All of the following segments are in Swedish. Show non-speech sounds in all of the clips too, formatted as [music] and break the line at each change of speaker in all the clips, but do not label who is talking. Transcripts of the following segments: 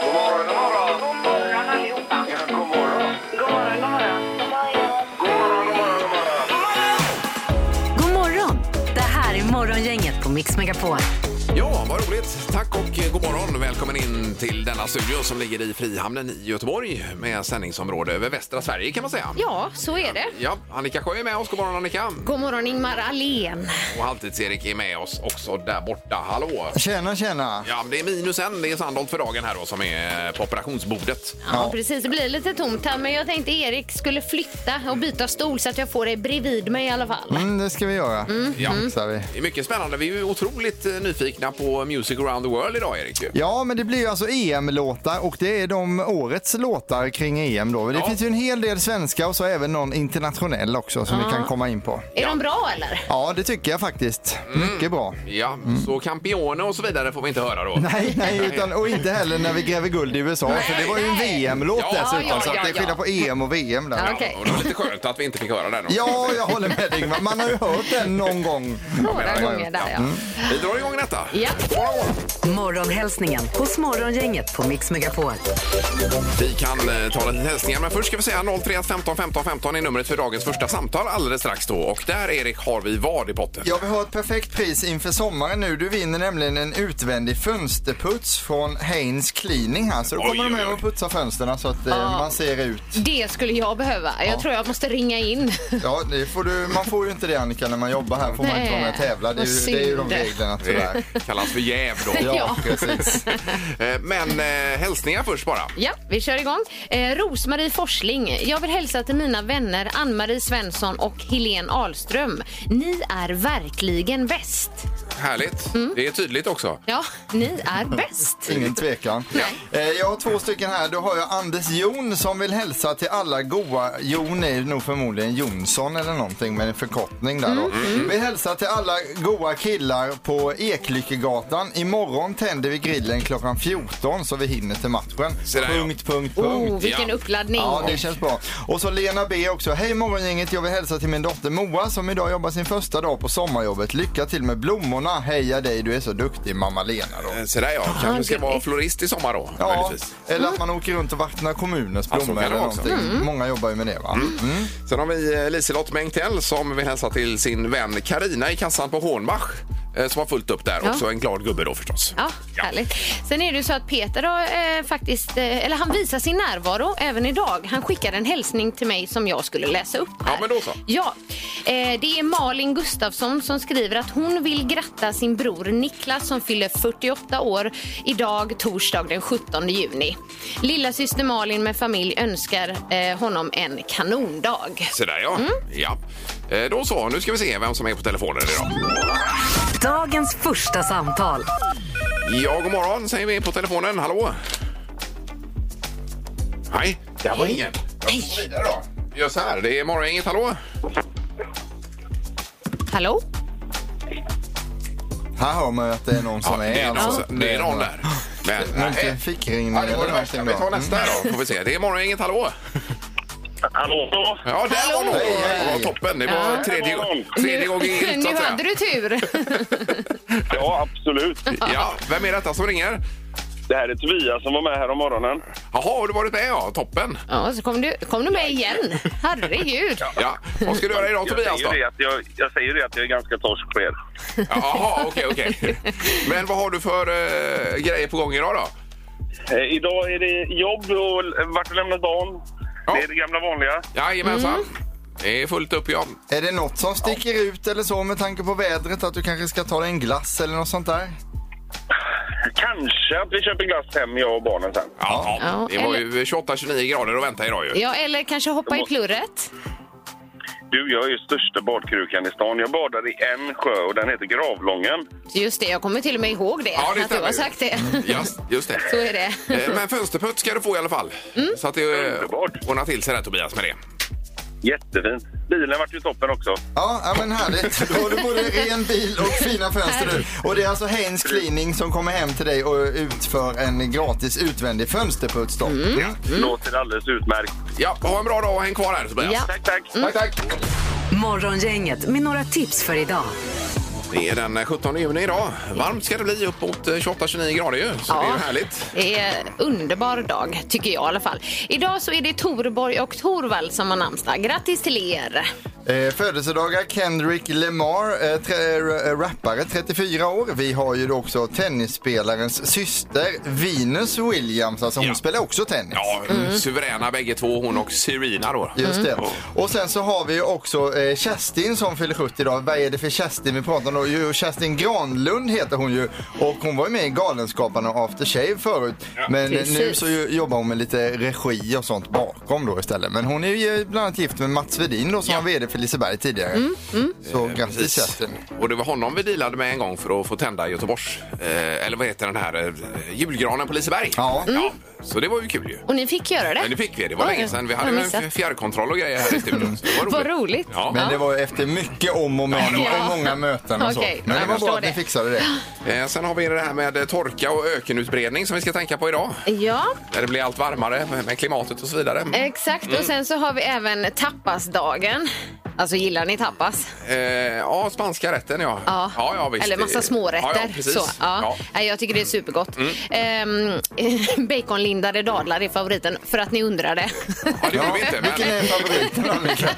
God morgon, god morgon.
God morgon allihopa.
Ja, god morgon.
God morgon, god morgon.
God morgon, god morgon, god morgon.
God morgon! Det här är Morgongänget på Mix Megapol.
Ja, vad roligt. Tack och eh, god morgon. Välkommen in till denna studio som ligger i Frihamnen i Göteborg med sändningsområde över västra Sverige kan man säga.
Ja, så är det.
Ja, Annika Sjö är med oss. God morgon Annika.
God morgon Ingmar Ahlén.
Och Halvtids-Erik är med oss också där borta. Hallå!
Tjena, tjena!
Ja, men det är minus en. Det är Sandholt för dagen här då som är eh, på operationsbordet.
Ja, precis. Det blir lite tomt här men jag tänkte Erik skulle flytta och byta stol så att jag får dig bredvid mig i alla fall.
Mm, det ska vi göra.
Ja.
mm.
Fixar vi.
Det är mycket spännande. Vi är ju otroligt eh, nyfikna på Music around the world idag, Erik. ju.
Ja, men det blir ju alltså EM-låtar och det är de årets låtar kring EM då. Det
Ja.
finns ju en hel del svenska och så även någon internationell också som vi kan komma in på.
Är de bra eller?
Ja, det tycker jag faktiskt.
Mm.
Mycket bra.
Ja, så Campione och så vidare får vi inte höra då.
Nej, nej utan, och inte heller när vi gräver guld i USA, för det var ju en
nej.
VM-låt
Ja,
dessutom,
ja,
så
ja,
att det är
ja.
skillnad på EM och VM där.
Ja,
Ja.
okej.
Och det var lite skönt att vi inte fick höra den. då.
jag håller med dig. Ingmar. Man har ju hört den någon gång.
Några gånger där
Mm.
ja.
Vi drar igång detta.
Ja.
Morgonhälsningen hos Morgongänget på Mix Megapol.
Vi kan eh, ta lite hälsningar, men först ska vi säga 031 15 15 15 är numret för dagens första samtal alldeles strax då. Och där, Erik, har vi vad i potten?
Ja, vi har ett perfekt pris inför sommaren nu. Du vinner nämligen en utvändig fönsterputs från Haynes Cleaning här. Så då
Oj,
kommer de
oj,
hem
oj.
och putsar fönstren så att eh, man ser ut.
Det skulle jag behöva. Jag tror jag måste ringa in.
Ja, det får du, man får ju inte det Annika när man jobbar här. Får man inte vara med och tävla. Det är
Vad
ju, det är ju de
synd.
reglerna
Det
tyvärr.
kallas för jäv då.
[laughs]
Ja, precis.
Eh, Men eh, hälsningar först bara.
Ja, vi kör igång. Eh, Rosmarie Forsling. Jag vill hälsa till mina vänner Ann-Marie Svensson och Helene Ahlström. Ni är verkligen bäst.
Härligt. Det är tydligt också.
Ja, ni är bäst.
Ingen tvekan. Eh, Jag har två stycken här. Då har jag Anders Jon som vill hälsa till alla goa. Jon är nog förmodligen Jonsson eller någonting med en förkortning där då. Vi hälsar till alla goa killar på Eklyckegatan. Imorgon tänder vi grillen klockan 14 så vi hinner till matchen.
Se där, ja.
punkt, punkt, punkt.
Oh, vilken
Ja.
uppladdning.
Ja, det känns bra. Och så Lena B också. Hej morgongänget, jag vill hälsa till min dotter Moa som idag jobbar sin första dag på sommarjobbet. Lycka till med blommorna. Heja dig, du är så duktig mamma Lena då.
Eh, Så där ja, kanske ska vara
gulligt.
florist i sommar då.
Ja,
möjligtvis.
eller att man åker runt och vattnar kommunens
Ja, så kan
blommor
det
eller
vara också.
någonting. Många jobbar ju med det va? Mm.
Sen har vi eh, Liselott Mengtell som vill hälsa till sin vän Karina i kassan på Hornbach eh, som har fullt upp där.
Ja.
Också en glad gubbe då förstås.
Ja, härligt. Sen är det ju så att Peter har eh, faktiskt, eh, eller han visar sin närvaro även idag. Han skickade en hälsning till mig som jag skulle läsa upp här.
Ja, men då så.
Ja, eh, det är Malin Gustafsson som skriver att hon vill gratta sin bror Niklas som fyller 48 år idag, torsdag den 17 juni. Lilla syster Malin med familj önskar eh, honom en kanondag.
Så där ja. ja. Eh, Då så, nu ska vi se vem som är på telefonen idag.
Dagens första samtal.
Ja, god morgon säger vi på telefonen. Hallå? Nej, det var ingen. Nej. Vi gör så här, det är morgongänget. Hallå?
Hallå?
Här hör man ju att det är någon som
Ja,
är
det, är någon,
alltså.
det är någon där. [laughs] Men,
Men inte
nej.
fickringning
Ja, det var
eller
det värsta.
någonting
Vi
då.
tar nästa då, får vi se. Det är morgongänget. Hallå?
Hallå?
Ja, där var någon.
Hej,
Det
hej.
var toppen. Det var tredje, tredje gången
[laughs]
[laughs]
gillt, så
nu
att säga.
hade
[laughs]
du tur.
Ja, absolut.
Ja, vem är detta som ringer?
Det här är Tobias som var med här om morgonen.
Jaha, har du varit med? Ja, toppen.
Ja, så kom du, kom du med igen. Herregud.
Ja. Vad ska du göra idag Tobias då?
säger ju det att jag, jag säger ju det att jag är ganska torsk på er.
Jaha, okej, okej. Men vad har du för eh, grejer på gång idag då?
Eh, idag är det jobb och l- vart och lämnat barn.
Ja.
Det är det gamla vanliga.
Jajamensan.
Mm.
Det är fullt upp ja.
Är det något som sticker ut eller så med tanke på vädret? Att du kanske ska ta dig en glass eller något sånt där?
Kanske att vi köper glass hem, jag och barnen sen.
Ja,
Ja,
det var ju 28-29 grader att vänta idag ju.
Ja, eller kanske hoppa i plurret.
Du, jag är ju största badkrukan i stan. Jag badar i en sjö och den heter Gravlången.
Just det, jag kommer till och med ihåg det.
Ja, det
att du
stämmer ju.
har sagt det.
Ja, just det.
[laughs] Så Mm. är det.
Eh, Men fönsterputt ska du få i alla fall. Så att det eh,
Underbart.
ordnar till sig där Tobias med det.
Jättefint. Bilen vart ju toppen också.
Ja, ja men
[laughs]
härligt. Då har du både ren bil och fina fönster nu. Och det är alltså Haynes Cleaning som kommer hem till dig och utför en gratis utvändig fönsterputs då.
Mm.
Låter alldeles utmärkt.
Ja, ha en bra dag och häng kvar här Tobias.
Ja.
Tack, tack.
Tack, tack.
Morgongänget med några tips för idag.
Det är den 17 juni idag. Varmt ska det bli, upp mot eh, 28-29 grader ju. Så det är ju härligt.
Det är en underbar dag, tycker jag i alla fall. Idag så är det Torborg och Torvald som har namnsdag. Grattis till er!
Eh, födelsedagar Kendrick Lamar, eh, tre, r- rappare, 34 år. Vi har ju då också tennisspelarens syster Venus Williams, alltså hon
Ja.
spelar också tennis.
Ja,
Mm.
suveräna bägge två, hon och Serena då.
Just det. Och sen så har vi ju också eh, Kerstin som fyller 70 idag. Vad är det för Kerstin vi pratar om då? Jo, Kerstin Granlund heter hon ju och hon var ju med i Galenskaparna och After Shave förut. Men eh, nu
Precis.
så ju- jobbar hon med lite regi och sånt bakom då istället. Men hon är ju eh, bland annat gift med Mats Wedin då som var VD för Liseberg tidigare.
Mm,
Så grattis Kerstin.
Och det var honom vi dealade med en gång för att få tända Göteborgs, eh, eller vad heter den här, eh, julgranen på Liseberg.
Ja.
ja. Så det var ju kul ju.
Och ni fick göra det?
Men det fick vi, det var
Oj,
länge sedan. Vi
jag
hade
har
ju en
missat.
fj- fjärrkontroll och grejer här i studion. Så det var roligt.
[laughs] Vad roligt.
Ja.
Men det var ju efter mycket om och men
Ja.
och många möten och så.
Okej,
Men det
jag
var bra
förstår
att ni
det.
fixade det.
Eh, Sen har vi det här med eh, torka och ökenutbredning som vi ska tänka på idag.
Ja,
När det blir allt varmare med med klimatet och så vidare.
exakt.
Mm.
Och sen så har vi även tapasdagen. Alltså gillar ni tapas?
Eh, ja, spanska rätten ja.
Ja.
ja, ja visst.
Eller massa
Det-
smårätter.
Ja, ja, precis.
så, ja.
Ja. Mm.
Nej, Jag tycker det är supergott. Ehm, [laughs] baconlindade dadlar är favoriten, för att ni undrade.
Ja, det gjorde vi inte.
Vilken är
Men...
favoriten Annika?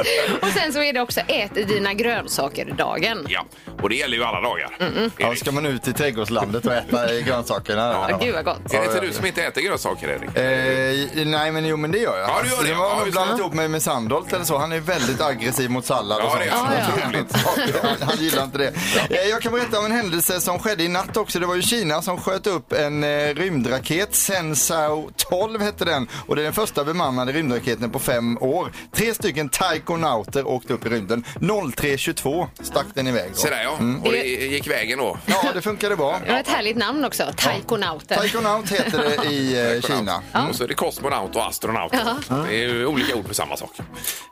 [laughs] och sen så är det också ät dina grönsaker-dagen.
Ja, och det gäller ju alla dagar.
Ja,
Erik.
ska man ut i trädgårdslandet och äta eh, grönsakerna?
Ja, gud vad gott.
Är det inte du som inte äter grönsaker, Erik?
Eh, nej men jo men det gör jag.
Ja, du gör det.
var
Ja,
nog
just
blandat
det.
ihop mig med Sandholt eller så. Han är väldigt aggressiv mot sallad och
Ja,
sånt.
det är han.
Ja, ja.
Otroligt.
han, han gillar inte det. Eh, jag kan berätta om en händelse som skedde i natt också. Det var ju Kina som sköt upp en eh, rymdraket. Sensao 12 hette den. Och det är den första bemannade rymdraketen på fem år. Tre stycken taikonauter åkte upp i rymden. 03.22 stack den iväg då.
Se där ja,
Mm.
och det gick vägen då.
Ja, det funkade bra.
Det var ett härligt namn också, taikonauten.
Taikonaut heter det i eh, Kina.
Och så är det kosmonaut och astronaut. Det är ju olika ord för samma sak.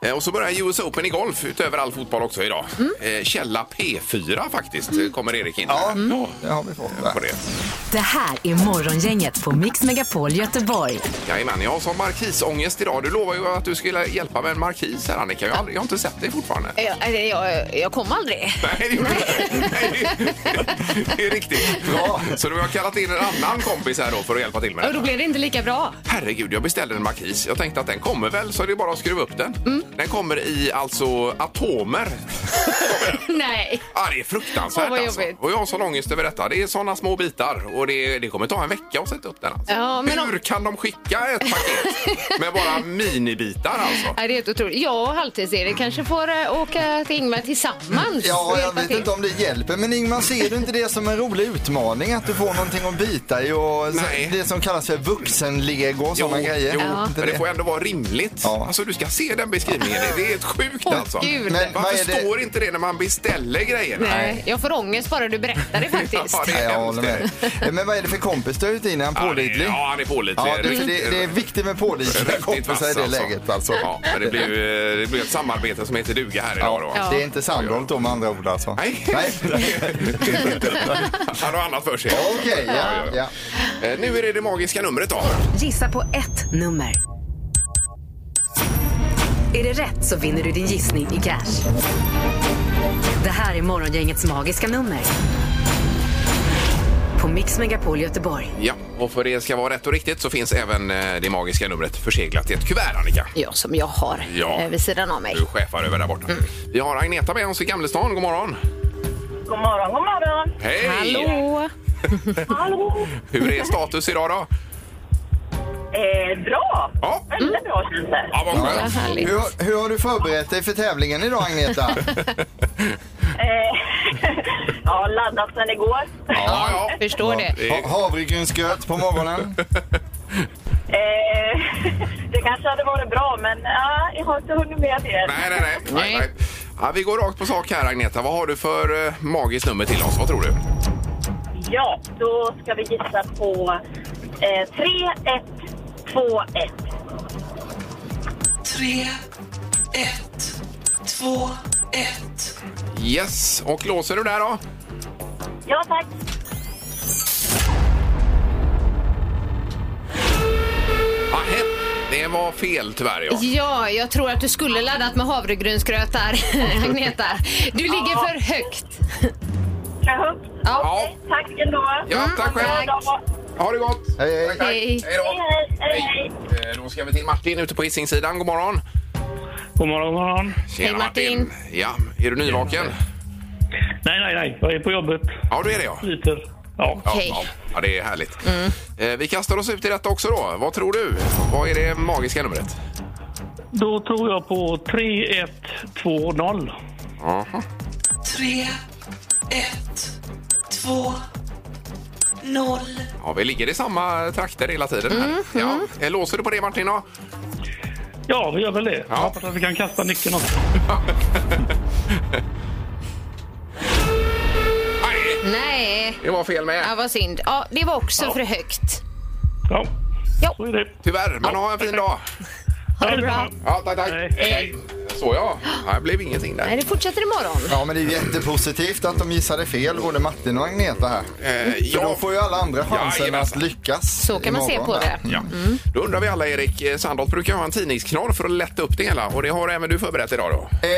Eh, Och så börjar US Open i golf utöver all fotboll också idag. Eh, Källa P4 faktiskt eh, kommer Erik in.
Ja,
Ja,
det har vi fått.
på
Där.
det.
Det här är Morgongänget på Mix Megapol Göteborg.
Jajamän, jag har sån markisångest idag. Du lovade ju att du skulle hjälpa med en markis här Annika. Jag har, aldrig, jag har inte sett dig fortfarande.
Jag, jag, jag kom aldrig.
Nej, det gjorde du inte. Nej, det- det är riktigt. Bra. Så då har jag kallat in en annan kompis här då för att hjälpa till med
Och då
det.
blev det inte lika bra.
Herregud, jag beställde en markis. Jag tänkte att den kommer väl, så det är bara att skruva upp den.
Mm.
Den kommer i alltså
[laughs]
atomer.
[laughs] Nej.
Ja, det är fruktansvärt
Åh, vad
alltså.
jobbigt.
Och jag har sån ångest över detta. Det är såna små bitar och det, det kommer ta en vecka att sätta upp den. Alltså.
Ja, men om-
Hur kan de skicka ett paket med bara minibitar
[laughs]
alltså?
Nej, det är helt otroligt. Jag och Halvtids-Erik kanske får eh, åka till Ingvar tillsammans.
Ja,
och
jag
hjälpa
vet
till.
inte om det hjälper. Men Ingmar, ser du inte det som en rolig utmaning? Att du får någonting att bita i och
Nej.
det som kallas för vuxenlego och sådana grejer.
jo,
Inte
men det får ändå vara rimligt.
Ja.
Alltså, du ska se den beskrivningen. Det är helt sjukt
Åh,
alltså.
gud.
Men vad
Varför
är det?
står inte det när man beställer grejer?
Nej, jag får ångest bara du berättar det faktiskt.
[laughs] Ja, det-
Nej, jag
hemskt
håller med. Eh, Men vad är det för kompis du har ute innan?
Ja, det-
Pålitlig?
Ja, han är pålitlig.
Ja, det, det, det är viktigt med pålitliga
Riktigt
kompisar i
vass,
det
alltså.
läget alltså.
Ja, men det blir ju eh, det blir ett samarbete som heter duga här idag då.
Ja.
Det är inte Sandholt då med andra ord alltså?
Nej. [laughs]
Nej.
Han har annat för sig.
Okej, ja, ja.
Eh, Nu är det det magiska numret då.
Gissa på ett nummer. Är det rätt så vinner du din gissning i cash. Det här är Morgongängets magiska nummer. På Mix Megapol Göteborg.
Ja, och för det ska vara rätt och riktigt så finns även eh, det magiska numret förseglat i ett kuvert, Annika.
Ja, som jag har
Ja.
eh, vid sidan av mig.
Du chefar över där borta.
Mm.
Vi har Agneta med oss i Gamlestan. God morgon!
God morgon, god morgon.
Hej!
Hallå!
Hallå.
Hur är status idag då?
Eh, bra.
Ja,
Väldigt bra känns det.
ja vad
Vad
skönt.
härligt.
Hur, hur har du förberett dig för tävlingen idag Agneta?
Eh, [laughs] ja, laddat sen igår.
Ja, ja.
Förstår det.
Ha- Havregrynsgröt på morgonen?
Eh, [laughs] det kanske hade varit bra, men ja, jag har inte hunnit med det.
Nej, nej, nej. nej,
Nej.
nej. Ja, vi går rakt på sak här, Agneta. Vad har du för eh, magiskt nummer till oss? Vad tror du?
Ja, då ska vi gissa på eh, 3, 1, 2, 1.
Yes, och låser du där då?
Ja, tack.
Ahe, Ah, det var fel tyvärr. Ja.
Ja, jag tror [laughs] att du skulle laddat med havregrynsgröt där, Agneta. Du ligger för högt.
räkna högt.
Ja.
Okej, Tack ändå.
Ja, tack själv.
Bra dag.
Ha det gott!
Hej, hej.
Tack.
Hej.
Hej då!
Hej, hej, hej.
Eh, Då ska vi till Martin ute på Hisingssidan. God morgon!
God morgon, god morgon.
Tjena
Hej, Martin.
Ja, är du nyvaken?
Nej, nej, nej. Jag är på jobbet.
Ja, du är det ja.
Sliter. Ja.
Ja,
Okej. Mm.
ja. ja det är härligt. Eh, Vi kastar oss ut i detta också då. Vad tror du? Vad är det magiska numret?
Då tror jag på 3120.
Jaha.
tre, ett, två, noll.
Ja, vi ligger i samma trakter hela tiden. här.
Mm,
Ja. Eh, Låser du på det Martin? Då?
Ja, vi gör väl det.
Ja.
Jag hoppas att vi kan kasta nyckeln också.
Nej,
Nej,
det var fel
ja,
med.
vad synd. Ja, det var också för högt.
Ja,
Ja.
så är det.
Tyvärr, men ha en fin dag.
Ha det bra.
Ja, tack, tack.
Hej.
Hej. Så ja, det blev ingenting
Nej,
där.
det fortsätter imorgon.
Ja, men det är ju jättepositivt att de gissade fel, både Martin och Agneta här.
Eh,
För då
ja,
får ju alla andra chansen
Jajamensan.
att lyckas.
Så kan man se
imorgon
på
här.
det.
ja. Då undrar vi alla, Erik eh, Sandholt brukar ha en tidningsknorr för att lätta upp det hela och det har även du förberett idag då.
Eh,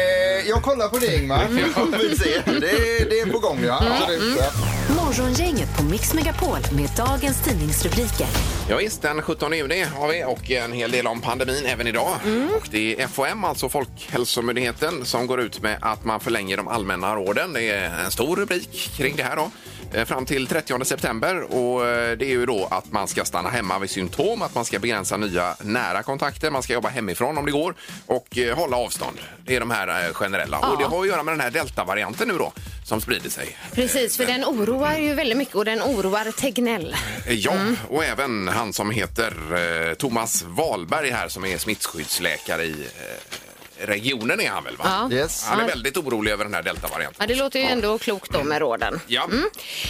jag kollar på det
[laughs]
Ingmar, vi får väl se. Det, det är på gång ja.
Mm.
Absolut. ja.
Morgongänget på Mix Megapol med dagens tidningsrubriker.
Ja, visst, den 17 juni har vi och en hel del om pandemin även idag. Och det är FHM, alltså Folkhälsomyndigheten, som går ut med att man förlänger de allmänna råden. Det är en stor rubrik kring det här då. Eh, Fram till 30 september och eh, det är ju då att man ska stanna hemma vid symptom, att man ska begränsa nya nära kontakter, man ska jobba hemifrån om det går och eh, hålla avstånd. Det är de här eh, generella. Och det har att göra med den här deltavarianten nu då som sprider sig.
Precis, för den oroar ju väldigt mycket och den oroar Tegnell.
Eh, Ja, och även han som heter eh, Thomas Wahlberg här som är smittskyddsläkare i eh, regionen är han väl? Va?
Ja.
Yes.
Han är väldigt orolig över den här deltavarianten.
Ja, det låter ju ändå klokt då med råden.
Ja.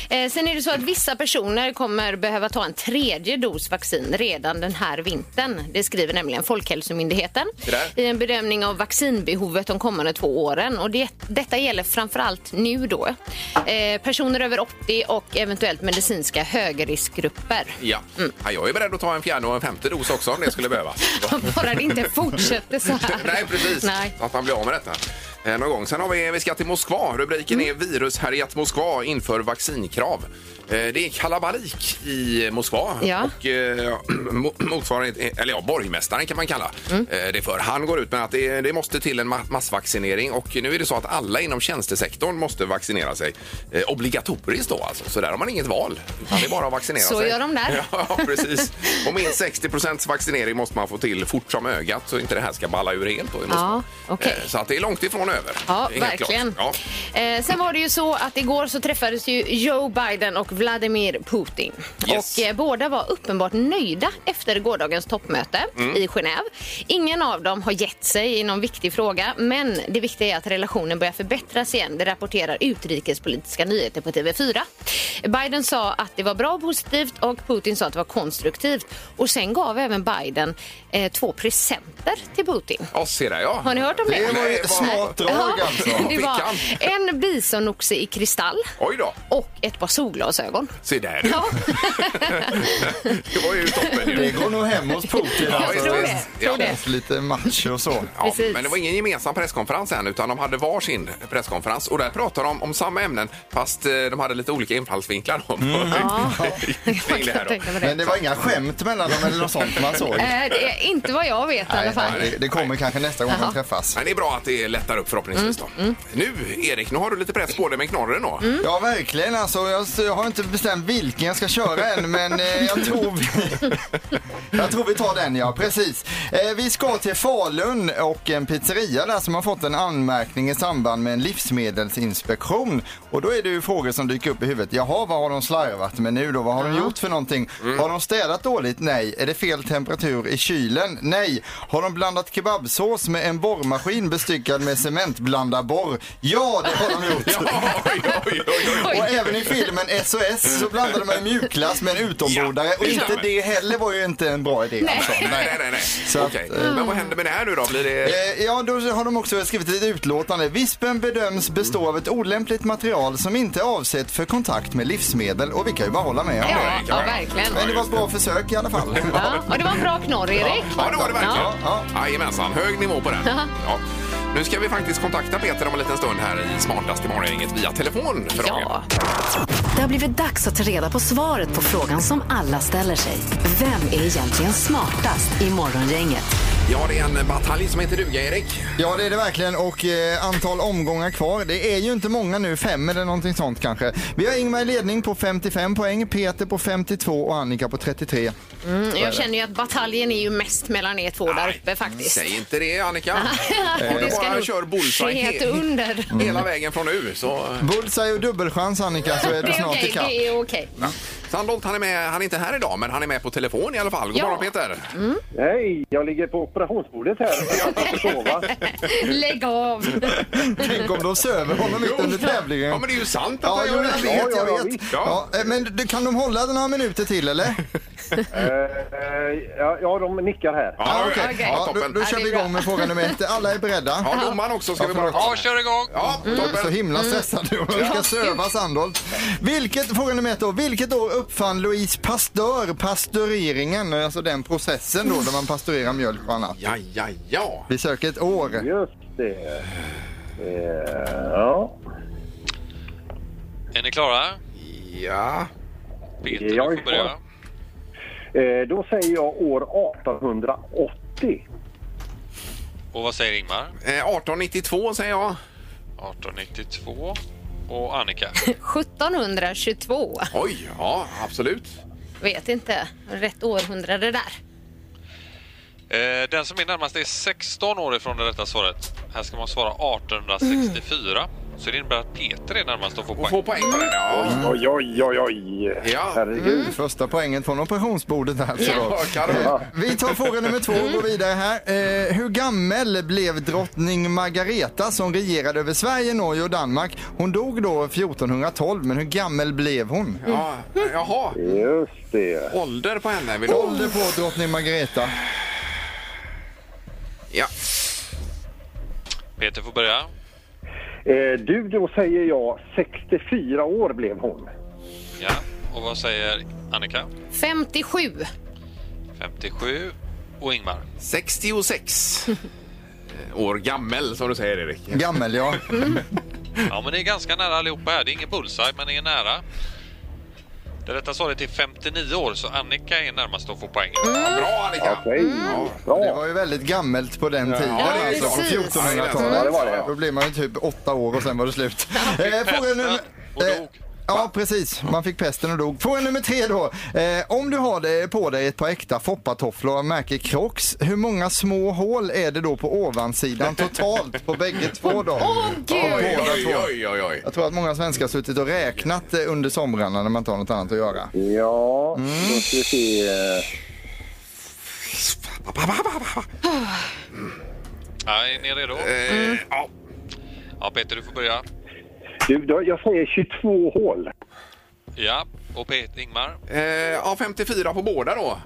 Eh, sen är det så att vissa personer kommer behöva ta en tredje dos vaccin redan den här vintern. Det skriver nämligen Folkhälsomyndigheten
Det där.
i en bedömning av vaccinbehovet de kommande två åren. Och det, detta gäller framförallt nu då. Eh, personer över 80 och eventuellt medicinska högriskgrupper.
Ja. Ja, jag är beredd att ta en fjärde och en femte dos också om det skulle behövas.
Bara det inte fortsätter så här.
[laughs] Nej, precis.
Nej.
Att man blir av med detta. Eh, Någon gång. Sen har vi, vi ska till Moskva. Rubriken
Mm.
är Virushärjat Moskva inför vaccinkrav. Eh, Det är kalabalik i Moskva.
Ja.
Och eh, [clears throat] mo- motsvarighet, eller ja, borgmästaren kan man kalla
Mm.
eh, det för. Han går ut med att det, det måste till en ma- massvaccinering och nu är det så att alla inom tjänstesektorn måste vaccinera sig. Eh, Obligatoriskt då alltså, så där har man inget val. Utan det är bara att vaccinera
Så
sig.
gör de där.
[laughs] Ja,
[laughs]
precis. Och minst 60 vaccinering måste man få till fort som ögat så inte det här ska balla ur helt. Då, i Moskva.
Ja, okej.
Eh, Så att det är långt ifrån över.
Ja,
Det är helt
verkligen.
klart.
Eh, sen var det ju så att igår så träffades ju Joe Biden och Vladimir Putin.
Yes.
Och eh, båda var uppenbart nöjda efter gårdagens toppmöte
Mm.
i Genève. Ingen av dem har gett sig i någon viktig fråga, men det viktiga är att relationen börjar förbättras igen. Det rapporterar Utrikespolitiska nyheter på TV4. Biden sa att det var bra och positivt och Putin sa att det var konstruktivt. Och sen gav även Biden eh, två presenter till Putin.
Ja, ja se där ja.
Har ni hört om det?
Det var ju
Nej,
ett
vad-
smart drag
Ja,
alltså.
det var en bisonoxe i kristall
Oj då,
och ett par solglasögon.
se där du.
Ja,
[laughs] Det var ju toppen ju.
Det går nog hem hos Putin
jag
alltså.
tror det.
visst.
Tror det.
Känns lite macho och så.
Ja,
Precis.
men det var ingen gemensam presskonferens än utan de hade var sin presskonferens och där pratade de om samma ämnen fast eh, de hade lite olika infallsvinklar. [laughs] Mm.
Ja. [laughs]
Kring det här då.
Tänka på
Men
det.
det var inga skämt mellan dem eller något sånt man såg.
Eh, det är inte vad jag vet i alla
Nej,
fall.
det, det kommer kanske nästa gång de träffas.
Men det är bra att det lättar upp förhoppningsvis
Mm,
då. Nu Erik, nu har du lite press på dig med knorren då.
Ja, verkligen. Alltså, jag, jag har inte bestämt vilken jag ska köra än, men eh, jag, tror vi, [laughs] jag tror vi tar den, ja. Precis. Eh, vi ska till Falun och en pizzeria där som har fått en anmärkning i samband med en livsmedelsinspektion. Och då är det ju frågor som dyker upp i huvudet. Jaha, vad har de slarvat med nu då? Vad har de gjort för någonting? Har de städat dåligt? Nej. Är det fel temperatur i kylen? Nej. Har de blandat kebabsås med en borrmaskin bestyckad med cementblandarborr? Ja, det har de gjort.
[laughs] Ja, oj, oj, oj, oj.
Och även i filmen SOS så blandade man mjukglass med en utombordare
Ja,
och inte
stämmer.
det heller var ju inte en bra idé. Alltså.
Nej, nej, nej. nej.
Så att,
Okej. Men vad händer med det här nu då? Blir det...
Eh, Ja, då har de också skrivit ett utlåtande. Vispen bedöms bestå av ett olämpligt material som inte är avsett för kontakt med livsmedel och vi kan ju bara hålla med om det.
Ja, ja, verkligen.
Men det var ett bra försök i alla
[laughs]
fall.
Ja, och det var en bra knorr, Erik.
Ja, det var det verkligen.
Ja,
Jajamensan, hög nivå på den. Ja. Nu ska vi faktiskt kontakta Peter om en liten stund här i Smartast i morgongänget via telefon. För dagen.
Ja. Mm,
Det har blivit dags att ta reda på svaret på frågan som alla ställer sig. Vem är egentligen smartast i morgongänget?
ja, det är en batalj som heter duga, Erik.
Ja, det är det verkligen och eh, antal omgångar kvar. Det är ju inte många nu, fem eller någonting sånt kanske. Vi har Ingmar i ledning på 55 poäng, Peter på 52 och Annika på 33.
Mm, Jag känner ju att bataljen är ju mest mellan er två där uppe faktiskt. [laughs]
Säg inte det, Annika. Om du
Det ska
Eh, bara
nog
kör bullseye Mm.
ske
he-
under.
hela vägen från nu så...
Bullseye och dubbelchans Annika så är
Det
du
är
snart
okej,
ikapp.
det är okej.
Sandholt, han är med. Han är inte här idag, men han är med på telefon i alla fall. God
Ja.
morgon, Peter.
Nej, jag ligger på operationsbordet här. Jag kan inte sova.
Lägg av. [laughs]
Tänk om de söver honom mitt under tävlingen.
Ja, men det är ju sant att
Ja,
han
jo,
gör
jag
det.
vet,
ja,
jag
ja,
vet.
visst.
Ja.
Ja, eh, men du, kan de hålla det några minuter till
[laughs]
eller?
Eh, eh, ja, ja, de nickar här.
Ja,
Ah,
okej.
okej.
Ja,
Ja, då,
toppen.
då kör vi igång med fråga nummer ett. Alla är beredda?
Ja, domaren också ska
Ja,
vi bara...
förlåt.
Ja, kör igång! Ja,
Så
toppen. Mm.
himla stressad nu. Hon ska söva Sandholt. Vilket, fråga nummer ett då. Vilket år uppfann Louise Pasteur pastöriseringen? Alltså den processen då där man pasteuriserar mjölk och annat.
Ja, ja, ja.
Vi söker ett år.
Just det. Eh, ja.
Är ni klara?
Ja.
Peter,
Jag
du
är
får
klar.
börja.
Eh, då säger jag år 1880.
Och vad säger Ingmar?
Eh, 1892 säger jag.
1892. Och Annika?
1722.
Oj, ja, absolut.
Vet inte. Rätt århundrade där.
Eh, den som är närmast är 16 år ifrån det rätta svaret. Här ska man svara 1864. Så det innebär att Peter är närmast att få
Och
poäng.
få poäng på den. Ja.
Mm.
Oj, oj, oj, oj.
Ja.
Herregud.
Första poängen från operationsbordet här. Så då.
Ja, kanon.
Vi tar fråga nummer två och går vidare här. Eh, hur gammal blev drottning Margareta som regerade över Sverige, Norge och Danmark? Hon dog då 1412, men hur gammal blev hon?
Ja, jaha,
Just det.
ålder på henne vill du
Ålder på drottning Margareta?
Ja,
Peter får börja.
Eh, du, då säger jag 64 år blev hon.
Ja. Och vad säger Annika?
57.
57. Och Ingmar?
66 Eh, år gammel som du säger Erik.
Gammal, ja.
Ja, men det är ganska nära allihopa här. Det är ingen bullseye, men det är nära. Det rätta svaret är 59 år, så Annika är närmast att få poäng.
Ja, bra Annika!
Okej.
Ja.
Det
Bra.
var ju väldigt gammalt på den tiden.
det är
alltså,
klart.
1400-talet.
Ja, det var det.
Då blev man ju typ åtta år och sen var det slut. Eh, Fråga nummer...
Och
eh,
dog.
Ja, precis. Man fick pesten och dog. Fråga nummer tre då. Eh, om du har det på dig ett par äkta foppatofflor av märke Crocs, hur många små hål är det då på ovansidan totalt på bägge två då?
Åh, gud!
Oj, oj, oj, oj.
Jag tror att många svenskar har suttit och räknat eh, under somrarna när man inte har något annat att göra.
Ja, då ska vi se. eh,
Ja, är ni redo?
Eh, ja.
Ja, Peter, du får börja.
Mm. Du, då, jag säger 22 hål.
Ja. Och Peter, Ingmar?
Eh, ja, 54 på båda då.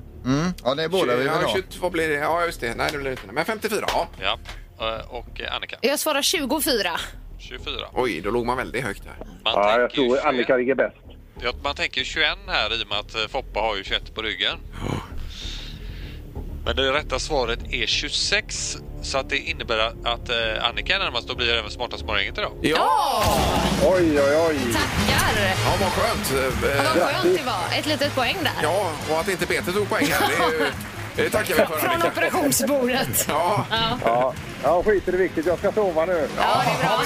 Ja, det är båda vi vill
ja,
ha.
22, vad blir det? Ja, just det. Nej, det blir det inte. Men 54, ja.
Ja. Eh, Och eh, Annika?
Jag svarar 24.
24.
Oj, då låg man väldigt högt där.
Man
Ja, jag
tänker ju
tror
21.
Annika ligger bäst.
Ja, man tänker ju 21 här i och med att eh, Foppa har ju 21 på ryggen. Men det rätta svaret är 26 så att det innebär att eh, Annika är närmast och blir även smartast morgongänget idag.
Ja!
Oj, oj, oj.
Tackar!
Ja, vad skönt. Eh,
Vad skönt det var. Ett litet poäng där.
Ja, och att inte Peter tog poäng här, det, är ju- det tackar vi för
Från
Annika.
operationsbordet.
Ja,
Ja, ja skit i det viktigt. Jag ska sova nu.
Ja, det är bra.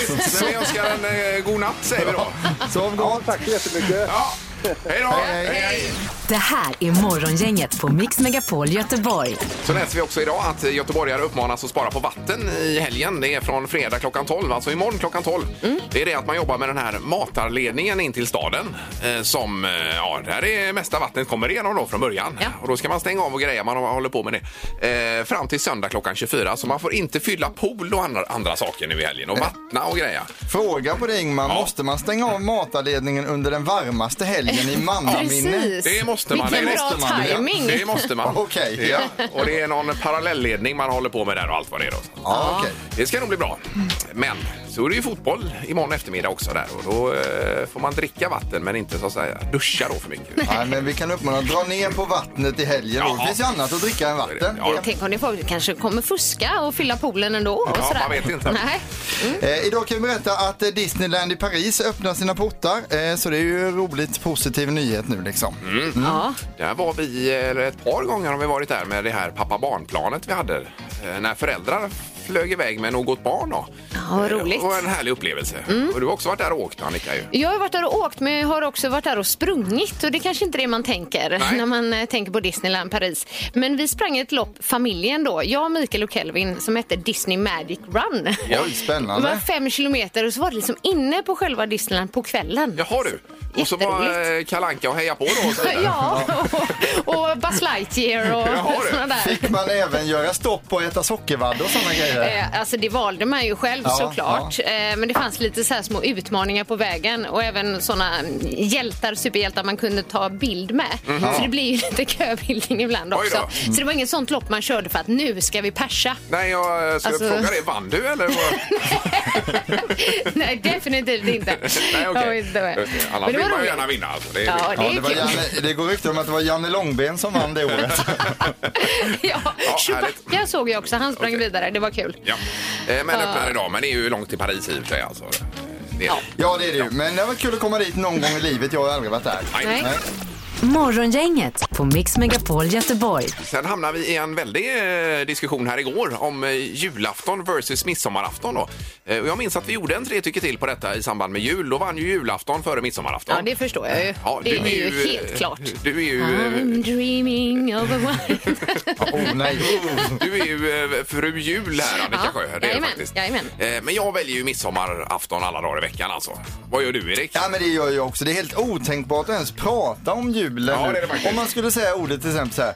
men vi önskar en eh, god natt säger vi då.
Sov
Ja,
gott!
tack så jättemycket.
Ja, hej då!
Hej, hej.
Det här är morgongänget på Mix Megapol Göteborg.
Så läser vi också idag att göteborgare uppmanas att spara på vatten i helgen. Det är från fredag klockan 12, alltså imorgon klockan 12.
Mm.
Det är det att man jobbar med den här matarledningen in till staden eh, som, eh, ja, där är mesta vattnet kommer igenom då från början.
Ja.
Och då ska man stänga av och greja, man håller på med det. Eh, fram till söndag klockan 24, så man får inte fylla pool och andra, andra saker nu i helgen
Eh.
och vattna och greja.
Fråga på det Ingmar,
Ja.
måste man stänga av matarledningen under den varmaste helgen
[laughs]
i mannaminne?
Precis.
Det måste man.
Vilken
det
bra
måste man.
timing.
Ja, det måste
[laughs]
man.
Okej.
Ja. Och det är någon parallellledning man håller på med där och allt vad det är. Då.
Ja, okej.
Det ska nog bli bra. Men Så är det ju fotboll imorgon eftermiddag också där och då eh, får man dricka vatten men inte så att säga duscha då för mycket.
Nej, men vi kan uppmana dra ner på vattnet i helgen. då.
Ja.
Det finns ju annat att dricka än vatten.
Ja,
Tänk om ni får, kanske kommer fuska och fylla poolen ändå. Och
Ja,
sådär.
man vet inte.
Nej.
Eh, idag kan vi berätta att eh, Disneyland i Paris öppnar sina portar. Eh, så det är ju roligt, positiv nyhet nu liksom.
Mm.
Mm.
Ja.
Där var vi eh, ett par gånger har vi varit där med det här pappa-barn-planet vi hade. Eh, När föräldrar flög iväg med något barn då. Eh,
Ja, vad roligt. Mm.
Det var en härlig upplevelse. Och du har också varit där och åkt Annika ju.
Jag har varit där och åkt men jag har också varit där och sprungit och det kanske inte är det man tänker
Nej.
när man eh, tänker på Disneyland Paris. Men vi sprang ett lopp, familjen då, jag, Mikael och Kelvin som hette Disney Magic Run.
Oj,
Det var
spännande.
fem kilometer och så var det liksom inne på själva Disneyland på kvällen.
Jaha du. Och så var eh, Kalanka och heja på då. Och så vidare.
Ja, [laughs] och, och Buzz Lightyear
Jaha,
och
du.
sådana där.
Fick man även göra stopp och äta sockervadd och sådana grejer?
Eh, Alltså det valde man ju själv
Ja,
såklart. Eh, Men det fanns lite så här små utmaningar på vägen och även såna mm, hjältar, superhjältar man kunde ta bild med. Så det blir ju [laughs] lite köbildning ibland
Mhm. Oj då.
också. Så det var inget sånt lopp man körde för att nu ska vi persa. [laughs]
Nej, jag eh, skulle
Alltså-
fråga dig, vann du eller?
[laughs]
vad?
Nej, definitivt
[laughs]
inte.
Nej,
Jag vet
okej.
inte vad-
Just det.
Men
Annars
det
vill
var
man ju
roligt.
gärna vinna. Alltså. Det är
Ja,
viktigt.
det
Ja,
är
det, var
kul.
Janne, det går rykten om att det var Janne Långben som vann det året.
[laughs] Ja, Chewbacca såg jag också. Han sprang
Okej.
vidare. Det var kul.
ja. Eh, Men öppnar idag, men det är ju långt till Paris i och för sig. Alltså. Det är
Ja.
Ja, det är det ju. Men det var kul att komma dit någon gång i livet. Jag har aldrig varit där.
Nej.
Nej.
Morgongänget på Mix Megapol Göteborg.
Sen hamnar vi i en väldig eh, diskussion här igår om eh, julafton versus midsommarafton. Då. Eh, och Jag minns att vi gjorde en tre tycker till på detta i samband med jul. Då vann ju julafton före midsommarafton.
Ja, det förstår jag ju.
Ja,
det
du
är ju helt
eh,
klart.
Du är ju, eh,
I'm dreaming of a white...
Oh, nej.
du är ju eh, fru jul här, Annika
Ja,
Sjö. Det är du
jajamän,
faktiskt.
jajamän.
Eh, Men jag väljer ju midsommarafton alla dagar i veckan. Alltså. Vad gör du, Erik?
Ja men det gör jag också. Det är helt otänkbart att ens prata om julen
Ja,
nu.
det är det faktiskt.
Om man skulle säga ordet till exempel så här.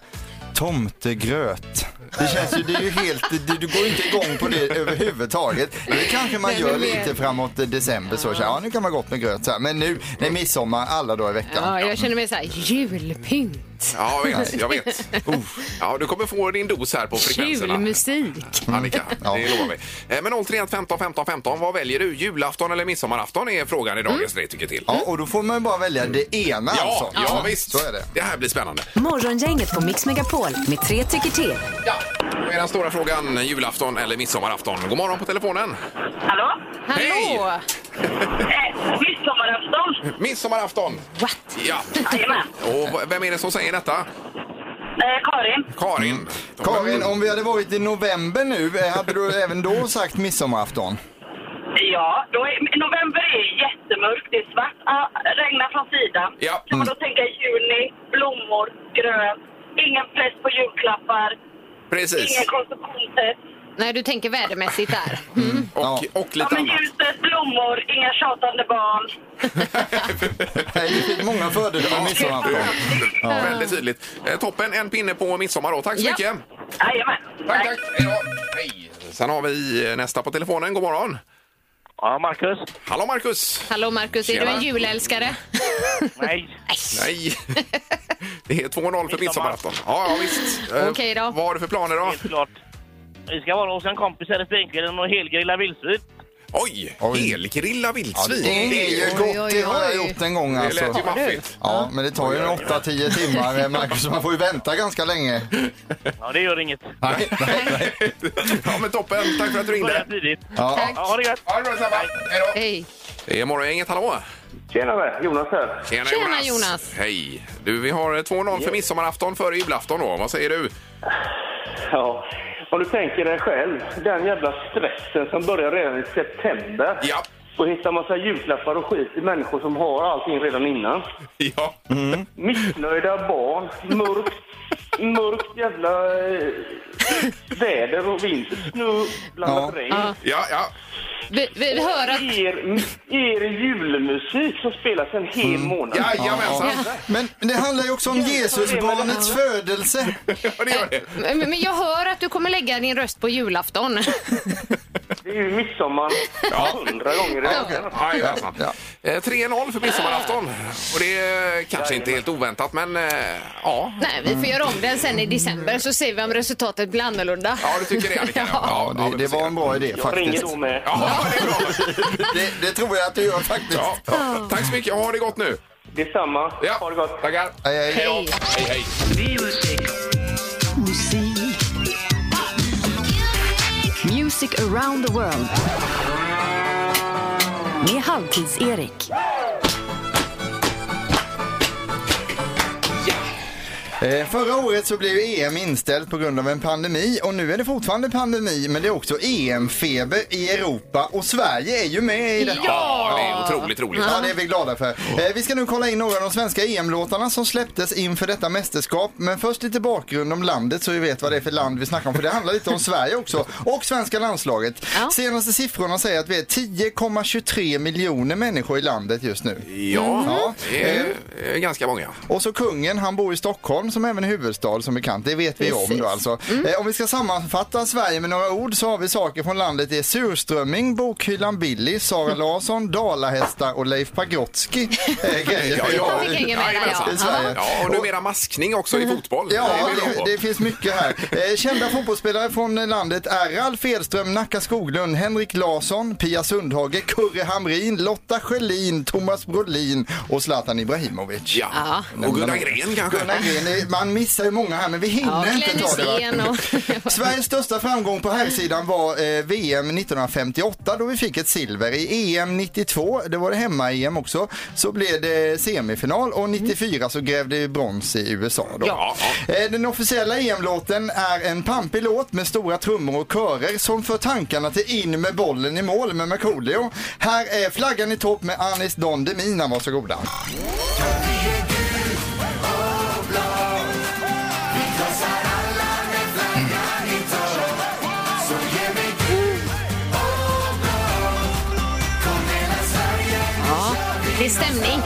Tomtegröt. Det känns ju, det är ju helt, det, du går ju inte igång på det överhuvudtaget. Det kanske man
Nej,
gör
men det-
lite framåt december så, så här, ja nu kan man gott med gröt så här. Men nu, det är midsommar alla dagar i
Ja,
veckan.
jag känner mig så här, julpynt.
Ja, jag vet. Jag vet. Ja, du kommer få din dos här på frekvenserna.
Julmusik.
Annika,
Ja.
det lovar vi. Eh, Men 031 15 15 15, vad väljer du? Julafton eller midsommarafton är frågan i dagens Tre tycker till.
Mm. Ja, och då får man ju bara välja det ena
Ja,
alltså.
ja, visst.
Så är det.
Det här blir spännande.
Morgongänget på Mix Megapol med tre tycker till.
Ja. Då är den stora frågan julafton eller midsommarafton. God morgon på telefonen.
Hallå?
Hallå!
Eh, midsommarafton?
Midsommarafton!
What?
Ja.
Jajamän.
Och v- vem är det som säger detta?
Eh, Karin?
Karin.
Mm. Karin, om vi hade varit i november nu, eh, hade du även då sagt midsommarafton?
Ja, då är, november är jättemörkt. Det är svart, ah, regnar från sidan.
Ja. Mm.
Kan man då tänka juni, blommor, grönt, ingen press på julklappar,
Precis.
ingen konsumtionspress.
Nej, du tänker vädermässigt där.
Och, och
Ja,
lite
men
annat.
ljuset, blommor, inga tjatande barn.
Nej, det fick många fördelar med midsommarafton.
[laughs]
Väldigt tydligt. Eh, Toppen, en pinne på midsommar då. Tack så
Ja.
mycket.
Jajamän.
Tack, tack. Hej då. Hej. Sen har vi eh, nästa på telefonen. God morgon.
Ja, Marcus?
Hallå Marcus!
Hallå Markus, är du
Tjena.
en julälskare?
Nej.
Nej.
[laughs]
Det är 2-0 för midsommarafton. Ja, ja visst. Eh,
Okej då.
Vad har du för planer då?
Helt klart. Vi ska vara hos en kompis här i Stenkillen och helgrilla vildsvin.
Oj!
Oj.
Helgrilla
Ja,
vildsvin.
det är ju
Oj,
gott, det
oj,
har jag
oj.
gjort en gång
Det lät
alltså.
ju maffigt. [laughs]
Ja, men det tar ju 8-10 timmar, eh, Marcus, så man får ju vänta ganska länge.
Ja, det gör inget.
Nej, nej, nej.
Ja, men toppen. Tack för att du
Börja
ringde.
tidigt.
Ja.
Ja, ha det gött!
Ha det bra detsamma. Hej då.
Hej.
Det är Morgongänget. Hallå!
Tjenare, Jonas här.
Tjena,
Tjena, Jonas.
Hej! Du, vi har eh, 2-0 för midsommarafton före julafton då. Vad säger du?
Ja, om du tänker dig själv, den jävla stressen som börjar redan i september.
Ja. [laughs]
Och hitta massa julklappar och skit i människor som har allting redan innan.
Ja.
Missnöjda barn, mörkt, mörkt jävla eh, väder och vinter, snö, blandat
Ja.
regn.
Ja, ja.
Vi, vi vi hör att...
Er, er julmusik som spelas en hel
Mm.
månad.
Jajamensan.
Men men det handlar ju också om Jesusbarnets födelse.
[laughs] Ja, det gör det.
Men men jag hör att du kommer lägga din röst på julafton.
Det är ju midsommar hundra gånger i veckan.
Ja, jajamensan. Eh, 3-0 för midsommarafton. Och det är kanske inte helt oväntat, men eh, ja.
Nej, vi får göra om den sen i december så ser vi om resultatet blir annorlunda.
Ja, du tycker det Annika?
Ja,
ja,
det,
vi
det
får
var
se.
en bra idé
Jag ringer
faktiskt.
då med.
Ja, det är bra.
Det, det tror jag att du gör faktiskt.
Ja. Tack så mycket. Ha det gott nu.
Detsamma.
Ja.
Ha det gott.
Tackar.
Hej, hej.
Hej.
Hej, hej.
Music around the world. Med Halvtids-Erik.
Eh, Förra året så blev ju EM inställt på grund av en pandemi och nu är det fortfarande pandemi men det är också EM-feber i Europa och Sverige är ju med i detta.
Ja, det är otroligt roligt.
Ja, det är vi glada för. Eh, vi ska nu kolla in några av de svenska EM-låtarna som släpptes inför detta mästerskap. Men först lite bakgrund om landet så vi vet vad det är för land vi snackar om. För det handlar lite om Sverige också och svenska landslaget.
Ja.
Senaste siffrorna säger att vi är 10,23 miljoner människor i landet just nu.
Ja,
Ja.
det är eh, ganska många.
Och så kungen, han bor i Stockholm som även är huvudstad som bekant. Det vet vi om
Precis.
då alltså. Eh, om vi ska sammanfatta Sverige med några ord så har vi saker från landet i surströmming, bokhyllan Billy, Sara Larsson, dalahästar och Leif Pagrotsky. Eh, grejer.
ja. Vi kan hänga med där,
jajamensan.
ja.
I Sverige. Mm.
ja, och numera maskning också i fotboll.
Ja,
det är vi bra
det,
på.
det finns mycket här. Eh, kända fotbollsspelare från eh, landet är Ralf Edström, Nacka Skoglund, Henrik Larsson, Pia Sundhage, Kurre Hamrin, Lotta Schelin, Thomas Brolin och Zlatan Ibrahimovic.
Ja, och Gunnar Gren kanske.
Gunnar Gren, eh, man missar ju många här men vi
Ja,
hinner inte
Glenn
ta det. va?
Hysén
[laughs]
och...
Sveriges största framgång på här sidan var eh, VM 1958 då vi fick ett silver. I E EM 92, det var det hemma-EM också, så blev det semifinal och 94 så grävde vi brons i USA. Då.
Ja.
Eh, Den officiella EM-låten är en pampig låt med stora trummor och körer som för tankarna till In med bollen i mål med Markoolio. Här är Flaggan i topp med Anis Don Demina, varsågoda.
Ja, det är stämning.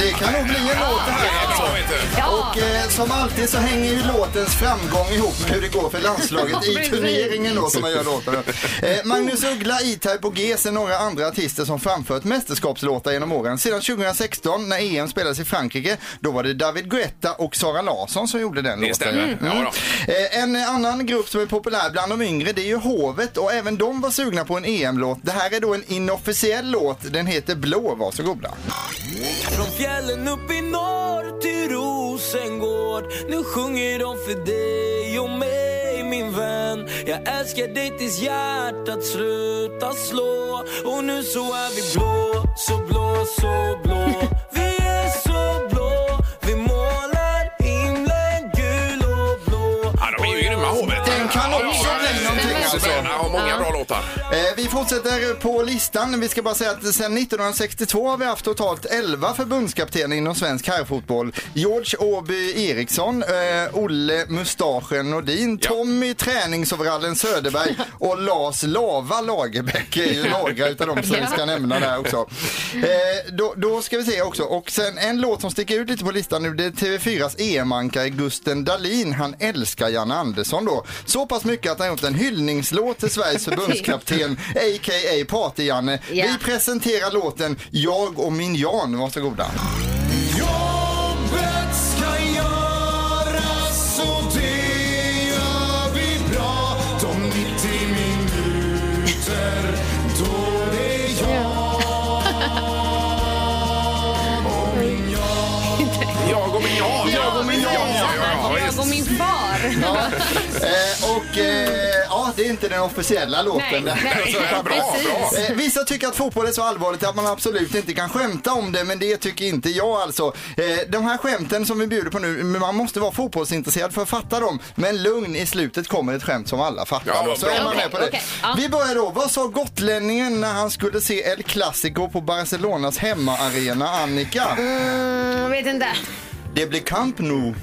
Det kan nog bli en låt det här alltså.
Ja, vet du.
Ja,
Och eh, som alltid så hänger ju låtens framgång ihop med hur det går för landslaget i turneringen då som man gör låten. Eh, Magnus Uggla, E-Type och GES är några andra artister som framfört mästerskapslåtar genom åren. Sedan 2016 när EM spelades i Frankrike, då var det David Guetta och Sara Larsson som gjorde den
Det
låten.
stämmer. Ja, då.
Eh, En annan grupp som är populär bland de yngre det är ju Hovet och även de var sugna på en EM-låt. Det här är då en inofficiell låt, den heter Blå, varsågoda.
Från fjällen upp i norr till Rosengård Nu sjunger de för dig och mig min vän Jag älskar dig tills hjärtat slutar slå Och nu så är vi blå, så blå, så blå Vi är så blå Vi målar himlen gul och blå
Ja, de är ju grymma, hovet.
Den kan också bli någonting alltså.
Susanna har många bra låtar.
Eh, Vi fortsätter på listan. Vi ska bara säga att sedan 1962 har vi haft totalt 11 förbundskaptener inom svensk herrfotboll. George Åby Eriksson, eh, Olle Mustaschen Nordin,
Ja.
Tommy Träningsoverallen Söderberg och Lars Lava Lagerbäck är ju några utav de som vi ska nämna där också. Eh, Då, då ska vi se också, och sen en låt som sticker ut lite på listan nu, det är TV4s EM-ankare Gusten Dahlin. Han älskar Janne Andersson då. Så pass mycket att han gjort en hyllningslåt till Sveriges förbundskapten, a.k.a. Party-Janne.
Ja.
Vi presenterar låten Jag och min Jan, varsågoda.
Jobbet ska göras och det gör vi bra De 90 minuter då det är jag
Jag och min Jan. Jag och min Jan. Ja, ja, ja,
jag och
visst.
min far.
Eh, och eh, ja, det är inte den officiella låten.
Nej,
Det här [laughs]
nej.
är så
Bra, bra.
Precis.
Eh, vissa tycker att fotboll är så allvarligt att man absolut inte kan skämta om det, men det tycker inte jag alltså. Eh, de här skämten som vi bjuder på nu, men man måste vara fotbollsintresserad för att fatta dem. Men lugn, i slutet kommer ett skämt som alla fattar.
Ja,
då, så
bra,
är man
bra.
med på det.
Okej, ja.
Vi börjar då. Vad sa gotlänningen när han skulle se El Clasico på Barcelonas hemmaarena, Annika?
Mm, vet inte.
Det blir kamp nu.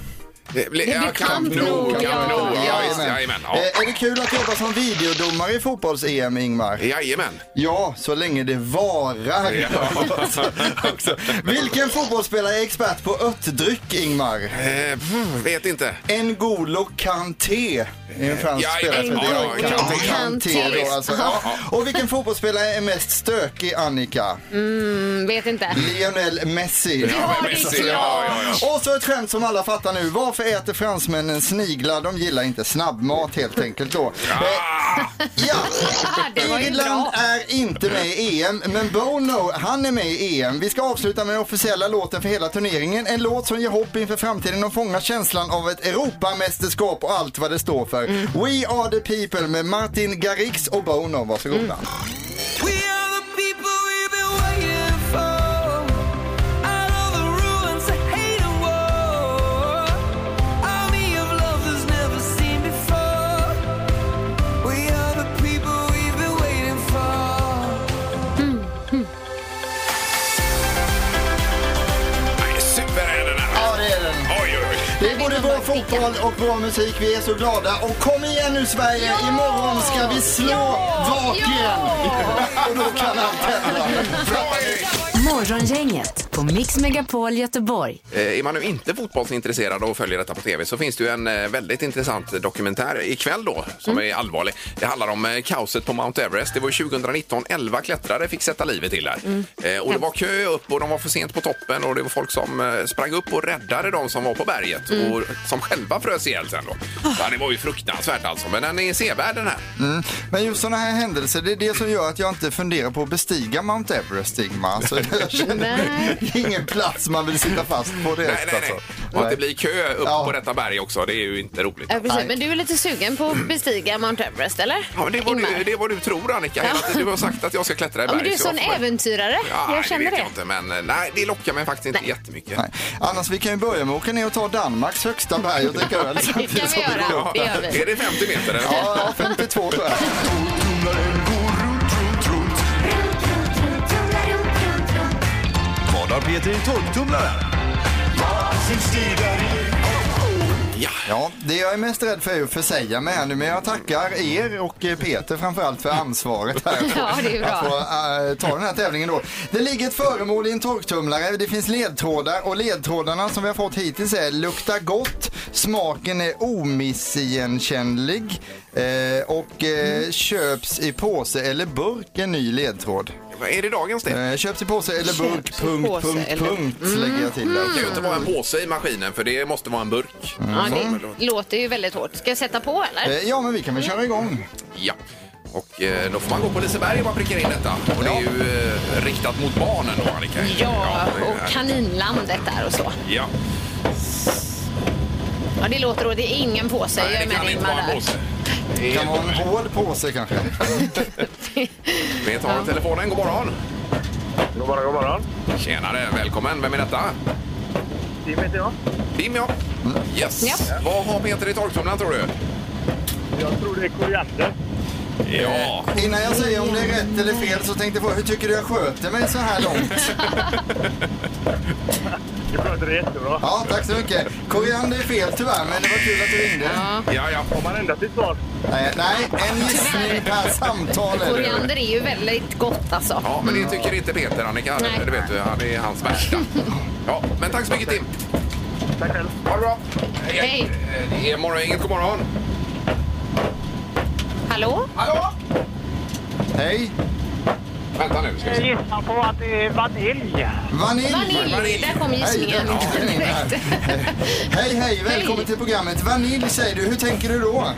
Det blir,
Det blir
ja, Camp
Camp Nou,
Nou. Camp
ja.
Nou, ja, visst,
Jajamän.
jajamän. Ja.
Eh, Är det kul att jobba som videodomare i fotbolls-EM, Ingmar?
Jajamän.
Ja, så länge det varar. [laughs] Också. Vilken fotbollsspelare är expert på örtdryck, Ingmar?
Eh, pff, vet inte.
N'Golo Kanté är en fransk
Ja,
spelare. som
ja,
heter
ja, ja,
Kanté.
ja,
ja,
Kanté
visst.
då, alltså.
Ja,
ja. Och vilken fotbollsspelare är mest stökig, Annika?
Mm, vet inte.
Lionel Messi.
Ja, det är
Messi,
klart.
ja, ja, ja.
Och så ett skämt som alla fattar nu. Varför äter fransmännen sniglar? De gillar inte snabbmat helt enkelt då. Eh,
Ah,
Ja,
Det var ju
Irland
bra.
är inte med i EM, men Bono, han är med i EM. Vi ska avsluta med den officiella låten för hela turneringen. En låt som ger hopp inför framtiden och fångar känslan av ett Europamästerskap och allt vad det står för.
Mm.
We are the people med Martin Garrix och Bono. Varsågoda.
Mm.
We are the people we've been waiting for. Out of the ruins of hate and war. Army of lovers never seen before. We are the people we've been waiting for.
nej, Super är den här.
Ja, det är den.
Oj, oj, oj.
Det är både bra fotboll och bra musik. Vi är så glada. Och kom igen nu Sverige! Imorgon ska vi slå vaken! [laughs] och då kan allt hända.
Bra, Erik.
Morgongänget på Mix Megapol Göteborg.
Eh, Är man nu inte fotbollsintresserad och följer detta på tv så finns det ju en eh, väldigt intressant dokumentär ikväll då som
Mm.
är allvarlig. Det handlar om eh, kaoset på Mount Everest. Det var ju 2019. 11 klättrare fick sätta livet till där.
Mm.
Eh, Och det var kö upp och de var för sent på toppen och det var folk som eh, sprang upp och räddade de som var på berget
Mm.
och som själva frös ihjäl sen då.
Ah.
Ja, det var ju fruktansvärt alltså. Men den är sevärd den här.
Mm. Men just sådana här händelser, det är det som gör att jag inte funderar på att bestiga Mount Everest, Ingmar.
[laughs]
Så jag känner mig, det är ingen plats man vill sitta fast på direkt
Nej, nej, nej.
alltså.
Och att det blir kö upp
Ja.
på detta berg också. Det är ju inte roligt.
Ja, precis.
Nej.
Men du är lite sugen på att bestiga Mount Everest, eller?
Ja, men det, var
Ingmar?
du, det var du tror, Annika. Hela tiden. Du har sagt att jag ska klättra i
Ja,
berg.
men du är en
så
sån
jag får-
äventyrare.
Ja,
jag känner
det. Vet jag
det.
inte, men eh, nej, det lockar mig faktiskt inte jättemycket.
Nej. Annars vi kan ju börja med att åka ner och ta Danmarks högsta berg och dricka öl
[laughs] Det
[laughs]
kan
samtidigt
vi
som vi går
göra.
upp.
Det gör vi.
Är det 50 meter? Eller?
Ja, 52 tror jag.
Vad har Peter i torktumlaren?
Ja.
Ja, det jag är mest rädd för är att försäga mig här nu, men jag tackar er och eh, Peter framförallt för ansvaret här. att få-
[laughs] Ja, det är bra.
Att få eh, ta den här tävlingen då. Det ligger ett föremål i en torktumlare, det finns ledtrådar och ledtrådarna som vi har fått hittills är lukta gott, smaken är omissigenkännlig eh, och eh,
Mm.
köps i påse eller burk, en ny ledtråd.
Vad Är det dagens det?
Eh, köps i påse eller burk,
Köps i
punkt,
påse
punkt,
eller- Mm.
punkt lägger jag till där.
Det kan ju inte vara en påse i maskinen, för det måste vara en burk.
Mm.
Ja, det låter ju väldigt hårt. Ska jag sätta på, eller?
Eh, Ja, men vi kan väl köra igång.
Ja. Och eh, då får man gå på Liseberg om man prickar in detta. Och det är ju eh, riktat mot barnen då, Annika.
Ja,
det är det
och
här.
kaninlandet där och så.
Ja.
Ja, det låter och det är ingen påse. Jag
Nej,
är
det
med
kan
dig,
inte vara
Ingmar,
en
där. [laughs]
påse.
Det kan vara en hård påse kanske.
Vi tar telefonen. God morgon!
God morgon, god morgon.
Tjenare, välkommen. Vem är detta?
Tim heter jag. Mm.
Tim, ja. Yes.
Ja.
Vad har Peter i torktumlaren, tror du?
Jag tror det är koriander.
Ja.
Innan jag säger om det är rätt eller fel så tänkte jag fråga, hur tycker du jag sköter mig så här långt?
Du sköter det jättebra.
Ja, tack så mycket. Koriander är fel tyvärr, men det var kul att du ringde.
Ja, ja.
Har man ändrat sitt svar?
Nej, nej en gissning per samtal är det.
Koriander är ju väldigt gott, alltså.
Ja, men det tycker inte Peter, Annika.
Nej.
Det vet du, han är hans värsta. Ja, men tack så mycket Tim.
Tack själv.
Ha det bra.
Hej.
Eh, Det är morgon, inget god morgon.
Hallå?
Hallå?
Hej,
Vänta nu, ska vi se.
Gissa på att det är vanilj.
vanilj.
Vanilj. Där kom
Hej,
gissningen.
där kom den in här.
Direkt.
Hej, hej, välkommen
Hej.
till programmet. Vanilj säger du, hur tänker du då?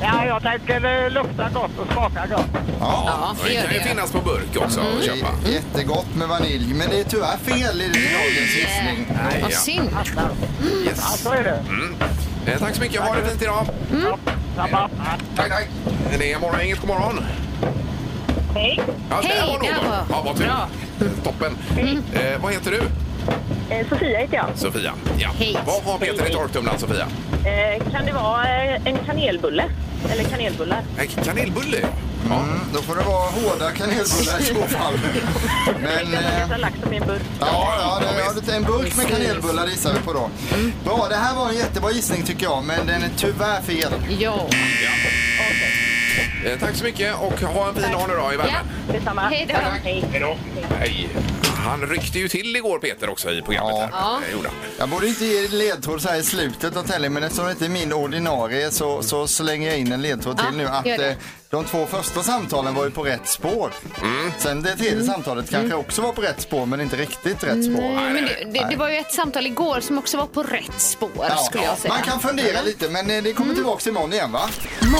Ja, jag tänker eh, lukta gott och smaka gott.
[laughs] Ja, det
Det
gör
kan ju
det.
finnas på burk också att
Det
köpa.
är jättegott med vanilj, men det är tyvärr fel i dagens gissning.
Nej,
Vad
ja.
synd.
Yes.
Så är det.
Eh, Tack så mycket, ha det fint idag.
Samma.
Tack, tack. Det är morgon, inget god morgon.
Hej,
Ja,
Hej, där var-
Ja, vad tur.
Bra.
Eh, Toppen. Eh, vad heter du?
eh, Sofia heter jag.
Sofia. Ja.
Hej.
Vad har Peter i torktumlaren, Sofia?
Eh, kan det vara eh, en kanelbulle? Eller kanelbullar?
Eh, Kanelbulle.
Mm, då får det vara hårda kanelbullar i så fall. Men, eh, ja, ja, det, ja, det är en burk med kanelbullar gissar vi på då.
Mm.
Bra, det här var en jättebra gissning tycker jag, men den är tyvärr fel.
Ja.
Eh, Tack så mycket och ha en fin dag nu då i värmen.
Detsamma.
Hej då.
Hej då. Hej. Han ryckte ju till igår Peter också i programmet.
Ja.
Här. Eh, gjorde han.
Jag borde inte ge ledtråd så här i slutet av tävlingen, men eftersom det inte är min ordinarie så, så slänger jag in en ledtråd till
Ja,
nu. Att
gör det.
eh, de två första samtalen var ju på rätt spår.
Mm.
Sen det tredje samtalet kanske också var på rätt spår, men inte riktigt rätt spår.
Nej, men det, det, det var ju ett samtal igår som också var på rätt spår
Ja,
skulle jag säga. Mm.
Man kan fundera lite, men eh, det kommer tillbaka imorgon igen va?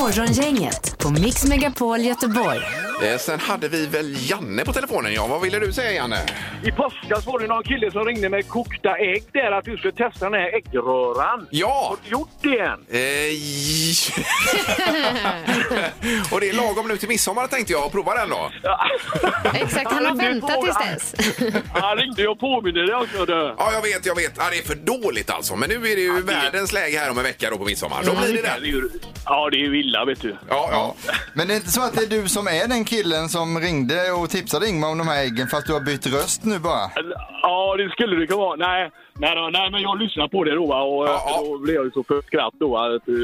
Morgongänget på Mix Megapol Göteborg.
Eh, Sen hade vi väl Janne på telefonen. Ja, vad ville du säga Janne?
I påskas var det någon kille som ringde med kokta ägg där att du skulle testa den här äggröran.
Ja!
Har du gjort det än?
Eh, [laughs] och det är lagom nu till midsommar tänkte jag. Prova den då.
Exakt, han har
Men du
väntat
får-
tills dess.
[laughs] Han ringde och påminner dig också du.
Ja, jag vet, jag vet. Ja, det är för dåligt alltså. Men nu är det ju världens läge här om en vecka då på midsommar. Då blir det
Ja,
den.
det är ju- Ja, det är ju illa vet du.
Ja, ja.
Men det är inte så att det är du som är den killen som ringde och tipsade Ingmar om de här äggen fast du har bytt röst nu bara?
Ja, det skulle det kunna vara. Nej, nej, då, nej men jag lyssnade på det då va, och
Ja, ja.
då blev jag ju så för skratt då. va,
[laughs]
Att, eh,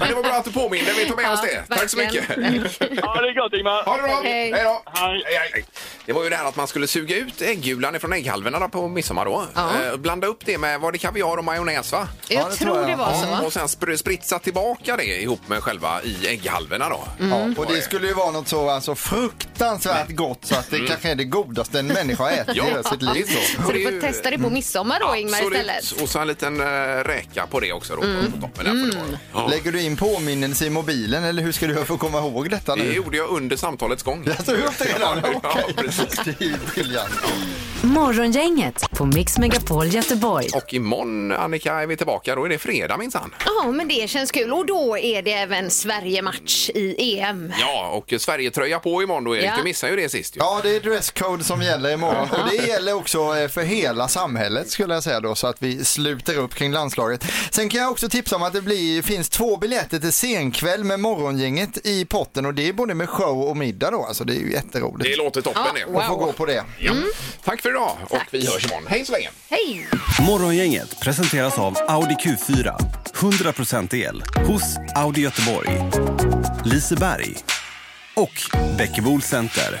Men det var bra att du påminde. Vi tar med
Ja,
oss det. Tack så mycket.
verkligen.
ja, det är gott Ingmar.
Ha det bra.
Hej.
Hej då.
Hej.
Hej, hej, hej. Det var ju det här att man skulle suga ut äggulan från ägghalvorna där på midsommar då.
Ja.
Eh, blanda upp det med, var det kaviar och majonnäs va?
Jag
det tror
tror
jag.
det var så
Mm,
va?
Och sen spr- spritsa tillbaka det ihop med själva i ägghalvorna då.
Mm.
Ja, och det skulle ju vara något så alltså,
Mm.
fruktansvärt gott så att det kanske är det godaste en människa har ätit i hela sitt
det är
liv.
så.
Så du får testa
Mm.
det på midsommar då Ingmar istället. Mm.
Och så en liten eh, räka på det också då. På toppen där får det vara. Ja.
Lägger du in påminnelse i mobilen eller hur ska du göra för att komma ihåg detta
Det
nu?
gjorde jag under samtalets gång.
Jag tog upp det redan?
Ja,
Okej.
precis.
Det är ju briljant.
Morgongänget på Mix Megapol Göteborg.
Och imorgon Annika är vi tillbaka. Då är det fredag minsann.
Ja, men det känns kul. Och då är det även Sverige-match i EM.
Ja, och Sverige-tröja på imorgon då Erik.
Ja.
Du missar ju det sist ju.
Ja, det är dresscode som gäller imorgon och det gäller också eh, för hela samhället skulle jag säga då så att vi sluter upp kring landslaget. Sen kan jag också tipsa om att det blir, finns två biljetter till senkväll med morgongänget i potten och det är både med show och middag då, alltså det är ju jätteroligt.
Det låter toppen
Ja,
det.
wow. Mm.
Man får gå på det.
Ja. Tack för idag och vi hörs imorgon. Hej så länge!
Hej!
Morgongänget presenteras av Audi Q4. 100% el hos Audi Göteborg, Liseberg och Bäckebol Center.